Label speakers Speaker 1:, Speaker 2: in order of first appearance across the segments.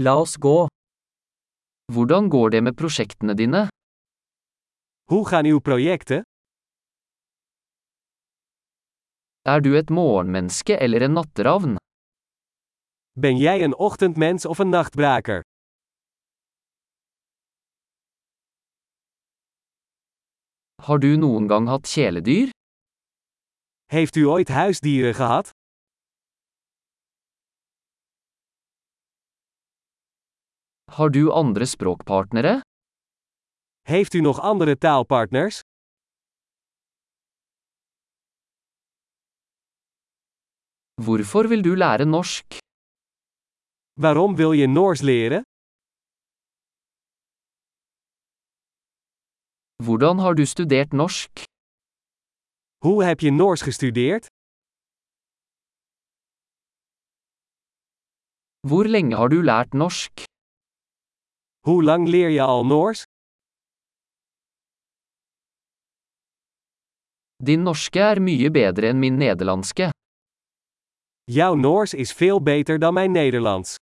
Speaker 1: La oss gå. Hvordan går det med prosjektene dine?
Speaker 2: Hoe gaan uw projecten?
Speaker 1: Er du et morgenmenneske eller en natteravn?
Speaker 2: Ben jij een ochtendmens of een nachtbraker?
Speaker 1: Har du noen gang hatt kjæledyr?
Speaker 2: Heeft u ooit huisdieren gehad?
Speaker 1: Har du andre språkpartnere?
Speaker 2: Heeft u nog andere taalpartners?
Speaker 1: Hvorfor vil du lære norsk?
Speaker 2: Waarom wil je Noors leren?
Speaker 1: Hvordan har du studert norsk?
Speaker 2: Hoe heb je Noors gestudeerd?
Speaker 1: Hvor lenge har du lært norsk?
Speaker 2: Hoe lang leer je al Noors?
Speaker 1: Din norske er mye bedre enn min nederlandske.
Speaker 2: Jouw Noors is veel beter dan mijn Nederlands.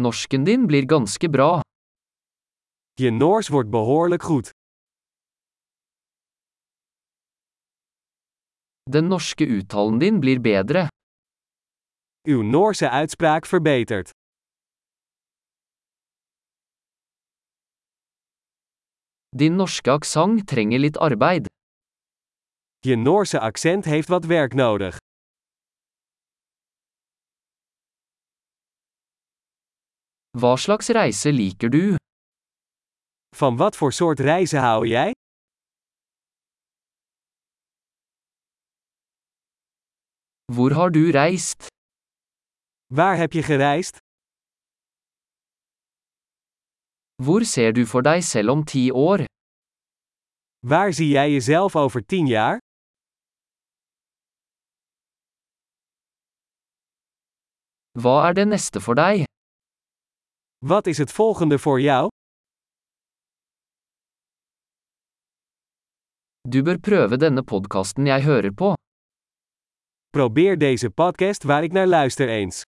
Speaker 1: Norsken din blir ganske bra.
Speaker 2: Je Noors wordt behoorlijk goed.
Speaker 1: Den norske uttalen din blir bedre.
Speaker 2: Uw Noorse uitspraak verbetert.
Speaker 1: Din norske aksent trenger litt arbeid.
Speaker 2: Je Noorse accent heeft wat werk nodig.
Speaker 1: Hva slags reise liker du?
Speaker 2: Van wat voor soort reizen hou jij?
Speaker 1: Hvor har du reist?
Speaker 2: Waar heb je gereisd?
Speaker 1: Hvor ser du for deg selv om ti år?
Speaker 2: Waar zie jij jezelf over 10 jaar?
Speaker 1: Hva er det neste for deg?
Speaker 2: Wat is het volgende voor jou?
Speaker 1: Du bør prøve denne podkasten jeg hører på.
Speaker 2: Probeer deze podcast waar ik naar luister eens.